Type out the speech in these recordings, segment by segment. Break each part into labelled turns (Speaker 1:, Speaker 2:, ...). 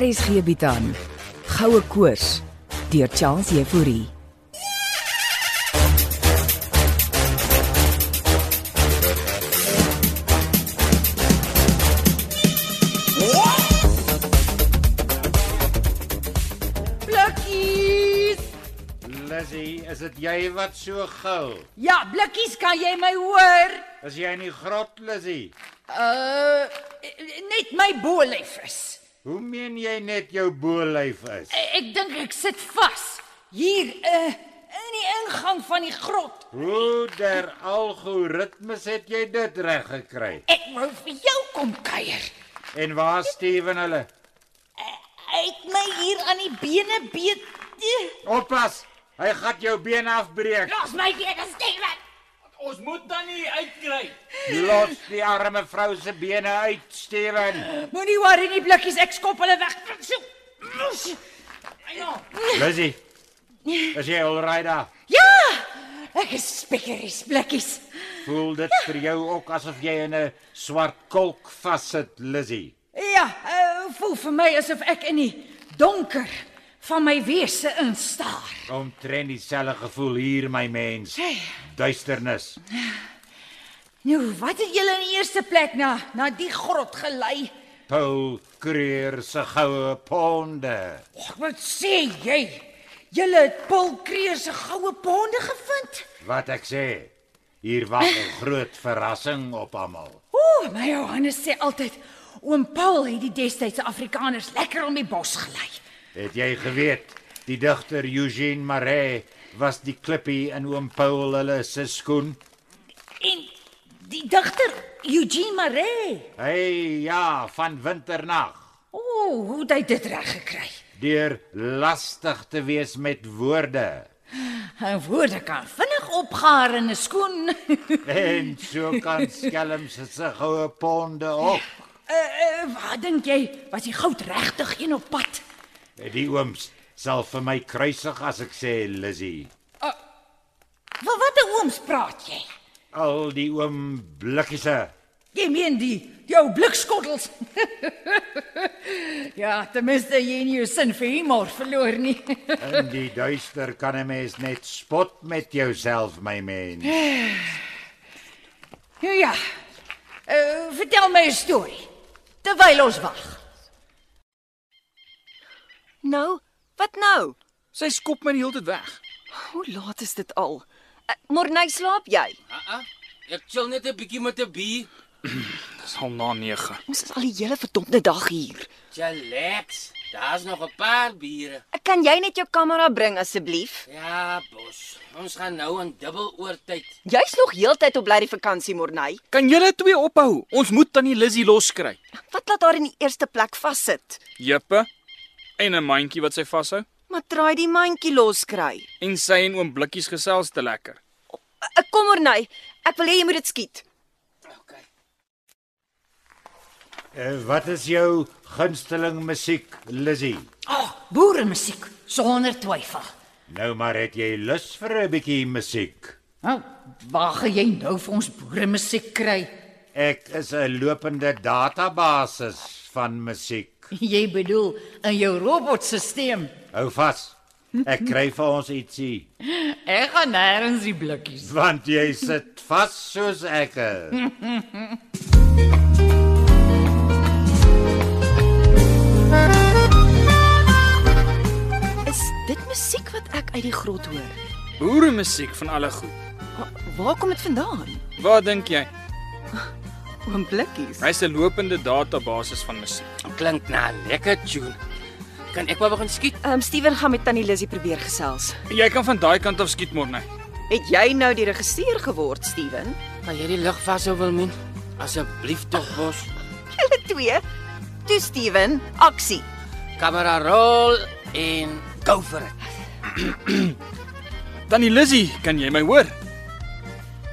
Speaker 1: RSG bied aan Goue Koors deur Charles Euphorie.
Speaker 2: Blikkies.
Speaker 3: Lizzie, is dit jy wat so gil?
Speaker 2: Ja, blikkies, kan jy my hoor?
Speaker 3: Is jy in die grot, Lizzie?
Speaker 2: Uh net my boelief is.
Speaker 3: Hoe meen jy net jou bolyf is?
Speaker 2: Ek dink ek sit vas hier uh in die ingang van die grot.
Speaker 3: Hoe der algoritmes het jy dit reg gekry?
Speaker 2: Ek wou vir jou kom kuier.
Speaker 3: En waar Steven hulle?
Speaker 2: Hy het my hier aan die bene beet. Eh,
Speaker 3: Oppas, hy gaan jou been afbreek.
Speaker 2: Los my weer gesteek.
Speaker 4: Ons moet dan nie uitkry.
Speaker 3: Los die arme vrou se bene uit, Steven.
Speaker 2: Moenie worry nie blikkies, ek skop hulle weg. Soek. Moes. Nee.
Speaker 3: Lizzie, is jy alraai daar?
Speaker 2: Ja! Ek is spekkeries blikkies.
Speaker 3: Voel dit vir jou ook asof jy in 'n swart kolk vassit, Lizzie?
Speaker 2: Ja, uh, voel vir my asof ek in die donker van my wese instaar.
Speaker 3: Omtrent dieselfde gevoel hier, my mens.
Speaker 2: Hey.
Speaker 3: Duisternis.
Speaker 2: Nou, wat het julle in die eerste plek na na die grot gelei?
Speaker 3: Paul Creer se goue ponde.
Speaker 2: Och, wat sê jy? Julle het Paul Kreer se goue ponde gevind?
Speaker 3: Wat ek sê, hier wag 'n groot verrassing op almal.
Speaker 2: Ooh, my Nou, Johannes sê altyd oom Paul het die destydse Afrikaners lekker om die bos gelei.
Speaker 3: Het jy geweet, die digter Eugene Maree was die klippie in oom Paul hulle se skoen?
Speaker 2: En die digter Eugene Maree.
Speaker 3: Hy ja, van winternag.
Speaker 2: Ooh, hoe het hy dit reg gekry?
Speaker 3: Deur lastig te wees met woorde.
Speaker 2: 'n Woorde kan vinnig opgaar in 'n skoen.
Speaker 3: En so kan skelm se se goue ponde op.
Speaker 2: Uh, uh, wat dink jy? Was die goud regtig een op pad?
Speaker 3: Die ooms sal vir my kruisig as ek sê Lizzie.
Speaker 2: Van watter ooms praat jy?
Speaker 3: Al die oom blikkiese
Speaker 2: Jy meen die die ou blikskottels. ja, ten minste jy nie jou sin vir humor verloor nie.
Speaker 3: In die duister kan 'n mens net spot met jouself, my mens.
Speaker 2: nou ja. Uh, vertel my 'n storie terwyl ons wag.
Speaker 5: Nou, wat nou?
Speaker 4: Sy skop my die hele tyd weg.
Speaker 5: Hoe laat is dit al? Uh, Morney slaap jy?
Speaker 4: Uh-uh. Ek chill net 'n bietjie met 'n bier. Dis al na 9.
Speaker 5: Ons is al die hele verdomde dag hier.
Speaker 4: Relax. Daar's nog 'n paar biere.
Speaker 5: Ek Eh, Kan jy net jou kamera bring asseblief?
Speaker 4: Ja, bos. Ons gaan nou aan dubbel oortyd.
Speaker 5: Jy's nog heeltyd op bly die vakansie, Morney.
Speaker 4: Kan julle twee ophou? Ons moet tannie Lizzy loskry.
Speaker 5: Wat laat haar in die eerste plek vassit?
Speaker 4: Jeppe en 'n mandjie wat sy vashou
Speaker 5: Maar draai die mandjie los kry.
Speaker 4: en sy en oom blikkies gesels te lekker.
Speaker 5: Uh, kom Morney, ek wil hê jy moet dit skiet.
Speaker 4: OK.
Speaker 3: Uh, wat is jou gunsteling musiek, Lizzie?
Speaker 2: O, oh, boere musiek sonder twyfel.
Speaker 3: Nou maar het jy lus vir 'n bietjie musiek.
Speaker 2: Nou, waar gaan jy nou vir ons boere musiek kry?
Speaker 3: Ek is 'n lopende database van musiek.
Speaker 2: Jy bedoel in jou robotstelsel.
Speaker 3: Hou vas. Ek kry vir ons ietsie,
Speaker 2: Ek gaan nêrens die blikkies.
Speaker 3: want jy sit vas soos ek. is.
Speaker 5: Is dit musiek wat ek uit die grot hoor?
Speaker 4: Boere musiek van alle goed.
Speaker 5: Wa- Waar kom dit vandaan?
Speaker 4: Wat dink jy?
Speaker 5: Oom Blikkies.
Speaker 4: Hy's 'n lopende database van musiek.
Speaker 6: Klink na 'n lekker tune. Kan ek maar begin skiet?
Speaker 5: Ehm um, Steven gaan met Tannie Lissy probeer gesels.
Speaker 4: Jy kan van daai kant af skiet môre.
Speaker 5: Het jy nou die regisseur geword, Steven?
Speaker 6: Maar jy die lug vashou wil min. Asseblief tog bos.
Speaker 5: Julle twee. Toe Steven, aksie.
Speaker 6: Kamera rol en go vir dit.
Speaker 4: Tannie Lizzy, kan jy my hoor?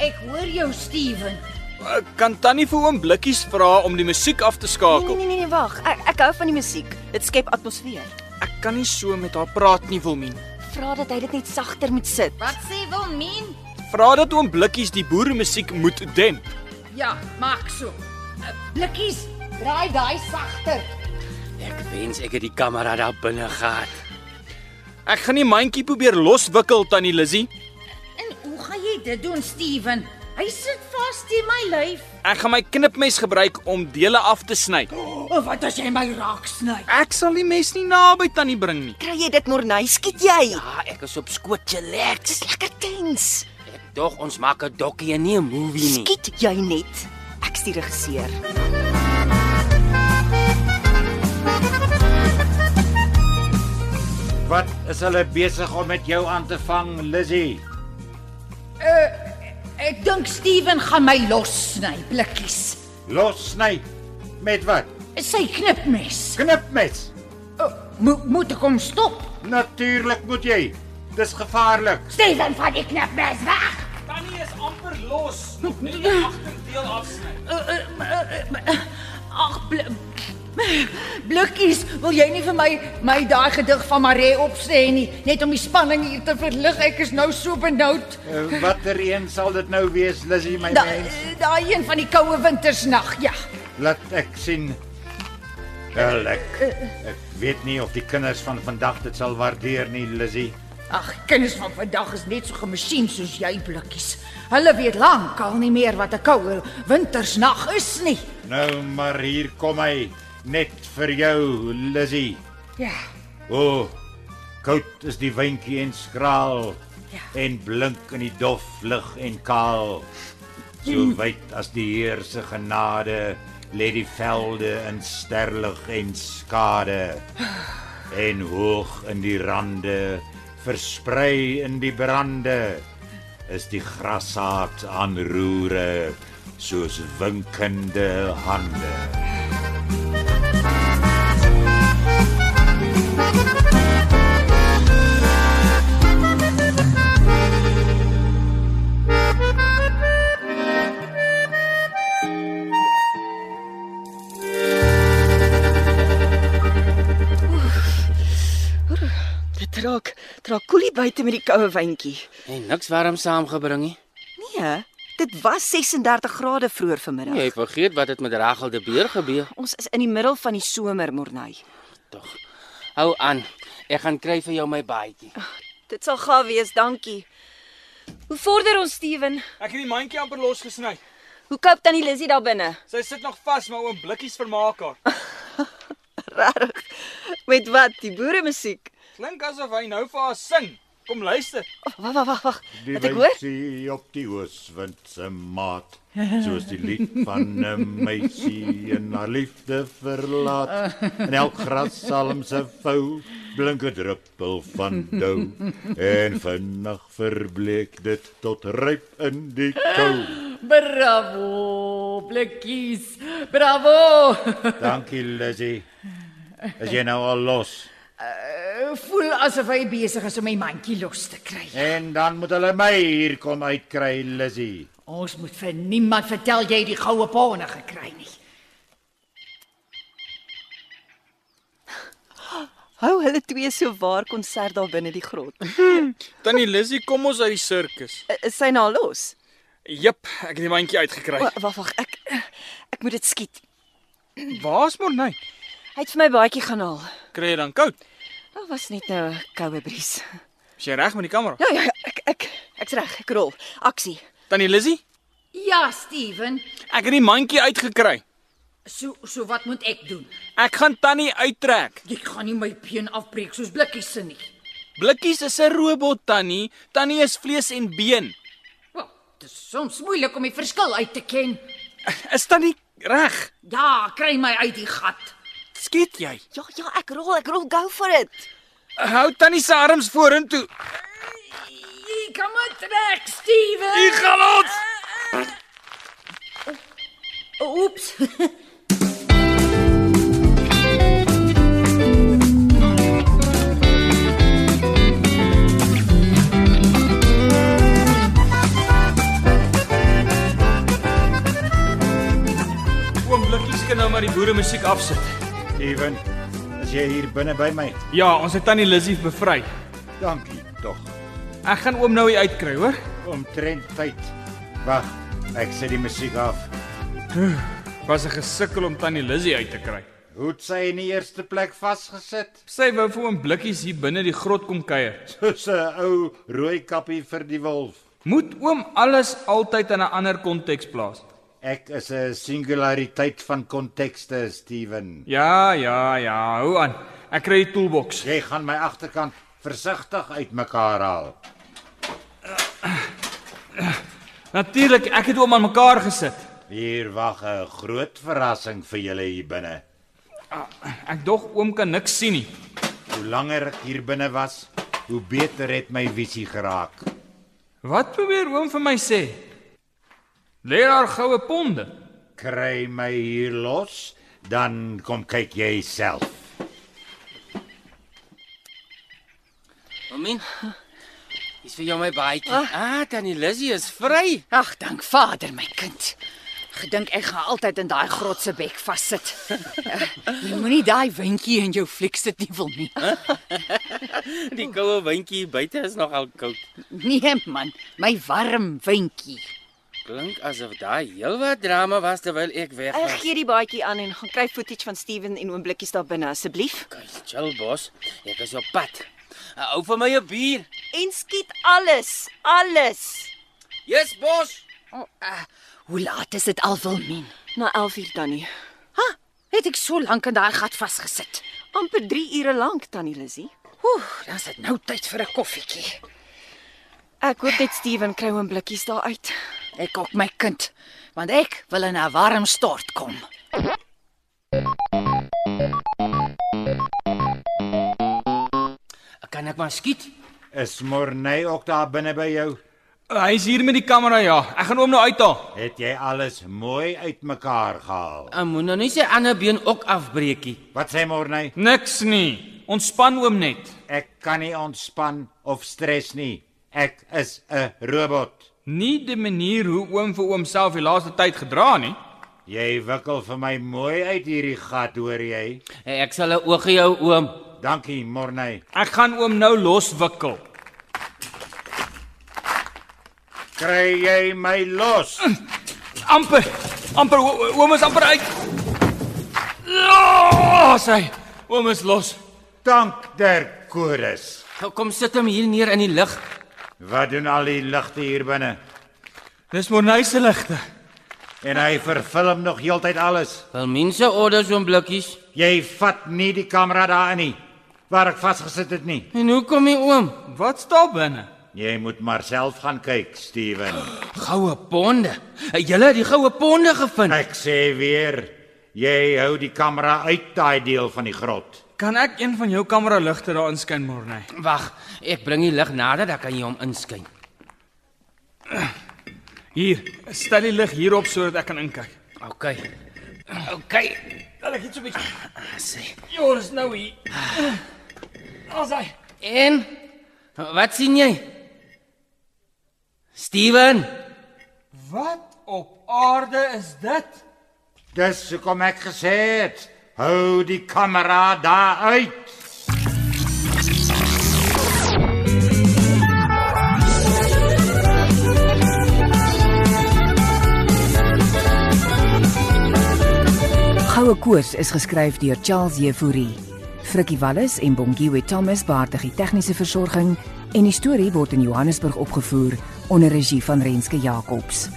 Speaker 2: Ek hoor jou, Steven.
Speaker 4: Uh, Kan tannie vir oom Blikkies vra om die musiek af te
Speaker 5: Nee
Speaker 4: skakel?
Speaker 5: nee nee, nee wag. Ek ek hou van die musiek. Dit skep atmosfeer.
Speaker 4: Ek kan nie so met haar praat nie, Wilmien.
Speaker 5: Vra dat hy dit net sagter moet sit.
Speaker 2: Wat sê Wilmien?
Speaker 4: Vra dat oom Blikkies die boere musiek moet demp.
Speaker 2: Ja, maak so. Eh, Blikkies, draai daai sagter.
Speaker 6: Ek wens ek het die kamera daar binne gehad.
Speaker 4: Ek gaan nie myntjie probeer loswikkel tannie Lizzy.
Speaker 2: En hoe gaan jy dit doen, Steven? Hy sit vas teen my lyf.
Speaker 4: Ek gaan my knipmes gebruik om dele af te sny.
Speaker 2: Of wat as jy my raak sny?
Speaker 4: Ek sal die mes nie naby tannie bring nie.
Speaker 5: Kry jy dit Morney? Skiet jy?
Speaker 6: Ja, ek is op skoot chillax.
Speaker 5: Lekker tens.
Speaker 6: Ek dog ons maak 'n dokkie en nie 'n movie nie.
Speaker 5: Skiet jy net. Ek is die regisseur.
Speaker 3: Wat is hulle besig om met jou aan te vang, Lizzy?
Speaker 2: Ek dink Steven gaan my lossny, blikkies.
Speaker 3: Los sny. Met wat?
Speaker 2: Sy knipmes.
Speaker 3: Knipmes.
Speaker 2: O, Eh, Mo moet ek hom stop?
Speaker 3: Natuurlik moet jy. Dis gevaarlik.
Speaker 2: Steven van die knipmes weg.
Speaker 4: Tannie is amper los. Nog net die agterdeel afsny.
Speaker 2: Eh, Ag bl- blikkies, wil jy nie vir my my daai gedig van Maree opsê nie, net om die spanning hier te verlig. Ek is nou so benoud.
Speaker 3: Uh, watter een sal dit nou wees, Lizzy, my
Speaker 2: Da-
Speaker 3: mens?
Speaker 2: Daai een van die koue wintersnag, ja.
Speaker 3: Laat ek sien. Wel, ek, ek weet nie of die kinders van vandag dit sal waardeer nie, Lizzy.
Speaker 2: Ag, kinders van vandag is net so gemasjien soos jy blikkies. Hulle weet lank al nie meer wat 'n koue wintersnag is nie.
Speaker 3: Nou maar hier kom hy net vir jou, Lizzy.
Speaker 2: Ja.
Speaker 3: O, oh, koud is die windjie en skraal
Speaker 2: Ja.
Speaker 3: en blink in die dof lig en kaal. So wyd as die Heer se genade lê die velde in sterlig en skade en hoog in die rande versprei in die brande is die grassaad aan roere soos winkende hande.
Speaker 5: Dit raak, raak koelie buite met die koue wyntjie.
Speaker 6: En niks warm saamgebring nie.
Speaker 5: Nee, dit was 36 grade vroeër vanmiddag.
Speaker 6: Jy vergeet wat het met Rachel de Beer gebeur.
Speaker 5: Ons is in die middel van die somer, Morney.
Speaker 6: Tog. Hou aan. Ek gaan kry vir jou my baadjie.
Speaker 5: Dit sal gaaf wees, dankie. Hoe vorder ons, Steven?
Speaker 7: Ek het die mandjie amper losgesny.
Speaker 5: Hoe koop tannie Lizzie daar binne?
Speaker 7: Sy sit nog vas, maar oom blikkies vermaak haar.
Speaker 5: Regtig? Met wat? Die boere musiek.
Speaker 7: Klink asof hy nou vir haar sing. Kom luister.
Speaker 5: Oh, wag, wag, wag, wag.
Speaker 3: Die
Speaker 5: Wat ek hoor?
Speaker 3: wysie op die ooswind se maat, soos die lied van 'n meisie en haar liefde verlaat. In elk grassalm se vou blink 'n druppel van dou en vinnig verbleek dit tot ryp in die kou.
Speaker 1: Bravo, blikkies. Bravo.
Speaker 3: Dankie Lizzy. As jy nou al los
Speaker 2: Uh, voel asof hy besig is om my mandjie los te kry.
Speaker 3: en dan moet hulle my hier kom uitkry Lizzy.
Speaker 2: Ons moet vir niemand vertel jy het die goue pone gekry nie.
Speaker 5: Hou hulle twee so waar konsert daar binne die grot.
Speaker 7: Tannie Lizzy, kom ons uit die sirkus.
Speaker 5: I- Is sy nou al los?
Speaker 7: Jep, ek het die mandjie uitgekry.
Speaker 5: O, Wag, wag, ek ek moet dit skiet.
Speaker 7: Waar's Morney?
Speaker 5: Hy het vir my baadjie gaan haal.
Speaker 7: Kry jy dan koud?
Speaker 5: Dit was net nou 'n koue bries.
Speaker 7: Is jy reg met die kamera?
Speaker 5: Ja, ja, ja, ek ek ek's reg, ek rol. Aksie.
Speaker 7: Tannie Lizzy,
Speaker 2: Ja, Steven.
Speaker 7: ek het die mandjie uitgekry.
Speaker 2: So so wat moet ek doen?
Speaker 7: Ek gaan Tannie uittrek.
Speaker 2: Jy gaan nie my been afbreek soos blikkies se nie.
Speaker 7: Blikkies is 'n robot, Tannie. Tannie is vlees en been.
Speaker 2: Wel, dit is soms moeilik om die verskil uit te ken.
Speaker 7: Is Tannie reg?
Speaker 2: Ja, kry my uit die gat.
Speaker 7: Skiet jy?
Speaker 5: Ja, ja, ek rol, ek rol go for it.
Speaker 7: Hou Tannie se arms vorentoe.
Speaker 2: Jy kan maar trek, Steven.
Speaker 7: Ek gaan ons.
Speaker 2: Oeps.
Speaker 7: Oom blikkies kan nou maar die boere musiek afsit.
Speaker 3: Steven, as jy hier binne by my.
Speaker 7: Ja, ons het Tannie Lizzy bevry.
Speaker 3: Dankie tog.
Speaker 7: Ek gaan oom nou hier uitkry, hoor.
Speaker 3: Omtrent tyd. Wag, ek sit die musiek af.
Speaker 7: Was 'n gesukkel om tannie Lizzy uit te kry.
Speaker 3: Hoe het sy in die eerste plek vasgesit?
Speaker 7: Sy wou vir oom blikkies hier binne die grot kom kuier.
Speaker 3: Soos 'n ou rooi kappie vir die wolf.
Speaker 7: Moet oom alles altyd in 'n ander konteks plaas.
Speaker 3: Ek is 'n singulariteit van kontekste, Steven.
Speaker 7: Ja, ja, ja, hou aan. Ek kry die toolbox.
Speaker 3: Jy gaan my agterkant versigtig uitmekaar haal.
Speaker 7: Natuurlik, ek het oom aan mekaar gesit.
Speaker 3: Hier wag 'n groot verrassing vir julle hier binne.
Speaker 7: Ek dog oom kan niks sien nie.
Speaker 3: Hoe langer ek hier binne was, hoe beter het my visie geraak.
Speaker 7: Wat probeer oom vir my sê? Lê daar goue ponde.
Speaker 3: Kry my hier los, dan kom kyk jy self.
Speaker 6: Wilmin. Dis vir jou my baadjie. Ah, tannie Lizzie is vry.
Speaker 5: Ag, dank Vader, my kind. Gedink ek gaan altyd in daai grot se bek vassit. Eh, Jy moenie daai windjie in jou fliek sit nie wil nie.
Speaker 6: Die koue windjie buite is nogal koud.
Speaker 5: Nee man, my warm windjie.
Speaker 6: Klink asof daai heelwat drama was terwyl ek weg
Speaker 8: Ek
Speaker 6: was.
Speaker 8: gee die baadjie aan en gaan kry footage van Steven en oom Blikkies daar binne asseblief.
Speaker 6: Kyk, chill bos. Ek is op pad. 'n Ou vir my 'n bier.
Speaker 8: En skiet alles, alles.
Speaker 6: Yes, bos.
Speaker 5: Hoe laat is dit al Wilmien?
Speaker 8: Na 11uur tannie.
Speaker 5: Ha, het ek so lank in daai gat vasgesit.
Speaker 8: amper 3 ure lank tannie Lizzie.
Speaker 5: Oeh, dan is dit nou tyd vir 'n koffietjie.
Speaker 8: Ek hoop net Steven kry hom blikkies daar uit.
Speaker 5: Ek ook my kind, want ek wil in 'n warm stort kom.
Speaker 6: Kan ek maar skiet?
Speaker 3: Is Morney ook daar binne by jou?
Speaker 7: Hy is hier met die kamera ja. Ek gaan oom nou uithaal.
Speaker 3: Het jy alles mooi uitmekaar gehaal?
Speaker 6: Ek moet nou nie sy ander been ook afbreekie.
Speaker 3: Wat sê Morney?
Speaker 7: Niks nie. Ontspan oom net.
Speaker 3: Ek kan nie ontspan of stres nie. Ek is 'n robot.
Speaker 7: Nie die manier hoe oom vir oomself die laaste tyd gedra nie.
Speaker 3: Jy wikkel vir my mooi uit hierdie gat, hoor jy?
Speaker 6: Eh, Ek sal 'n oogie jou oom.
Speaker 3: Dankie, Morney.
Speaker 7: Ek gaan oom nou loswikkel.
Speaker 3: Kry jy my los?
Speaker 7: Amper. Amper o- o- oom is amper uit. Ja, sy. Oom is los.
Speaker 3: Dank der Kodes.
Speaker 6: Gou kom sit hom hier neer in die lig.
Speaker 3: Wat doen al die ligte hier binne?
Speaker 7: Dis Morney se ligte.
Speaker 3: En hy verfilm nog heeltyd alles.
Speaker 6: Wil mense orders om blikkies?
Speaker 3: Jy vat nie die kamera daarin nie. Waar ek vasgesit het nie.
Speaker 6: En hoe kom jy oom?
Speaker 7: Wat staan binne?
Speaker 3: Jy moet maar self gaan kyk, Steven.
Speaker 6: Goue ponde. Eh, Julle het die goue ponde gevind.
Speaker 3: Ek sê weer, jy hou die kamera uit daai deel van die grot.
Speaker 7: Kan ek een van jou kamera ligte daarin skyn Morney?
Speaker 6: Wag, ek bring die lig nader, dan kan jy hom inskyn.
Speaker 7: Hier, stel die lig hierop sodat ek kan inkyk.
Speaker 6: OK. OK.
Speaker 7: Laat ek net so 'n bietjie.
Speaker 6: Sê.
Speaker 7: Ja, dis nou hier. Asai.
Speaker 6: En wat sien jy? Steven,
Speaker 7: Wat op aarde is dit?
Speaker 3: Dis hoekom ek gesê het, hou die kamera daar uit.
Speaker 1: Goue Koors is geskryf deur Charles Jefouri. Frikkie Wallis en Bongiwe Thomas baartig die tegniese versorging en die storie word in Johannesburg opgevoer onder regie van Renske Jacobs.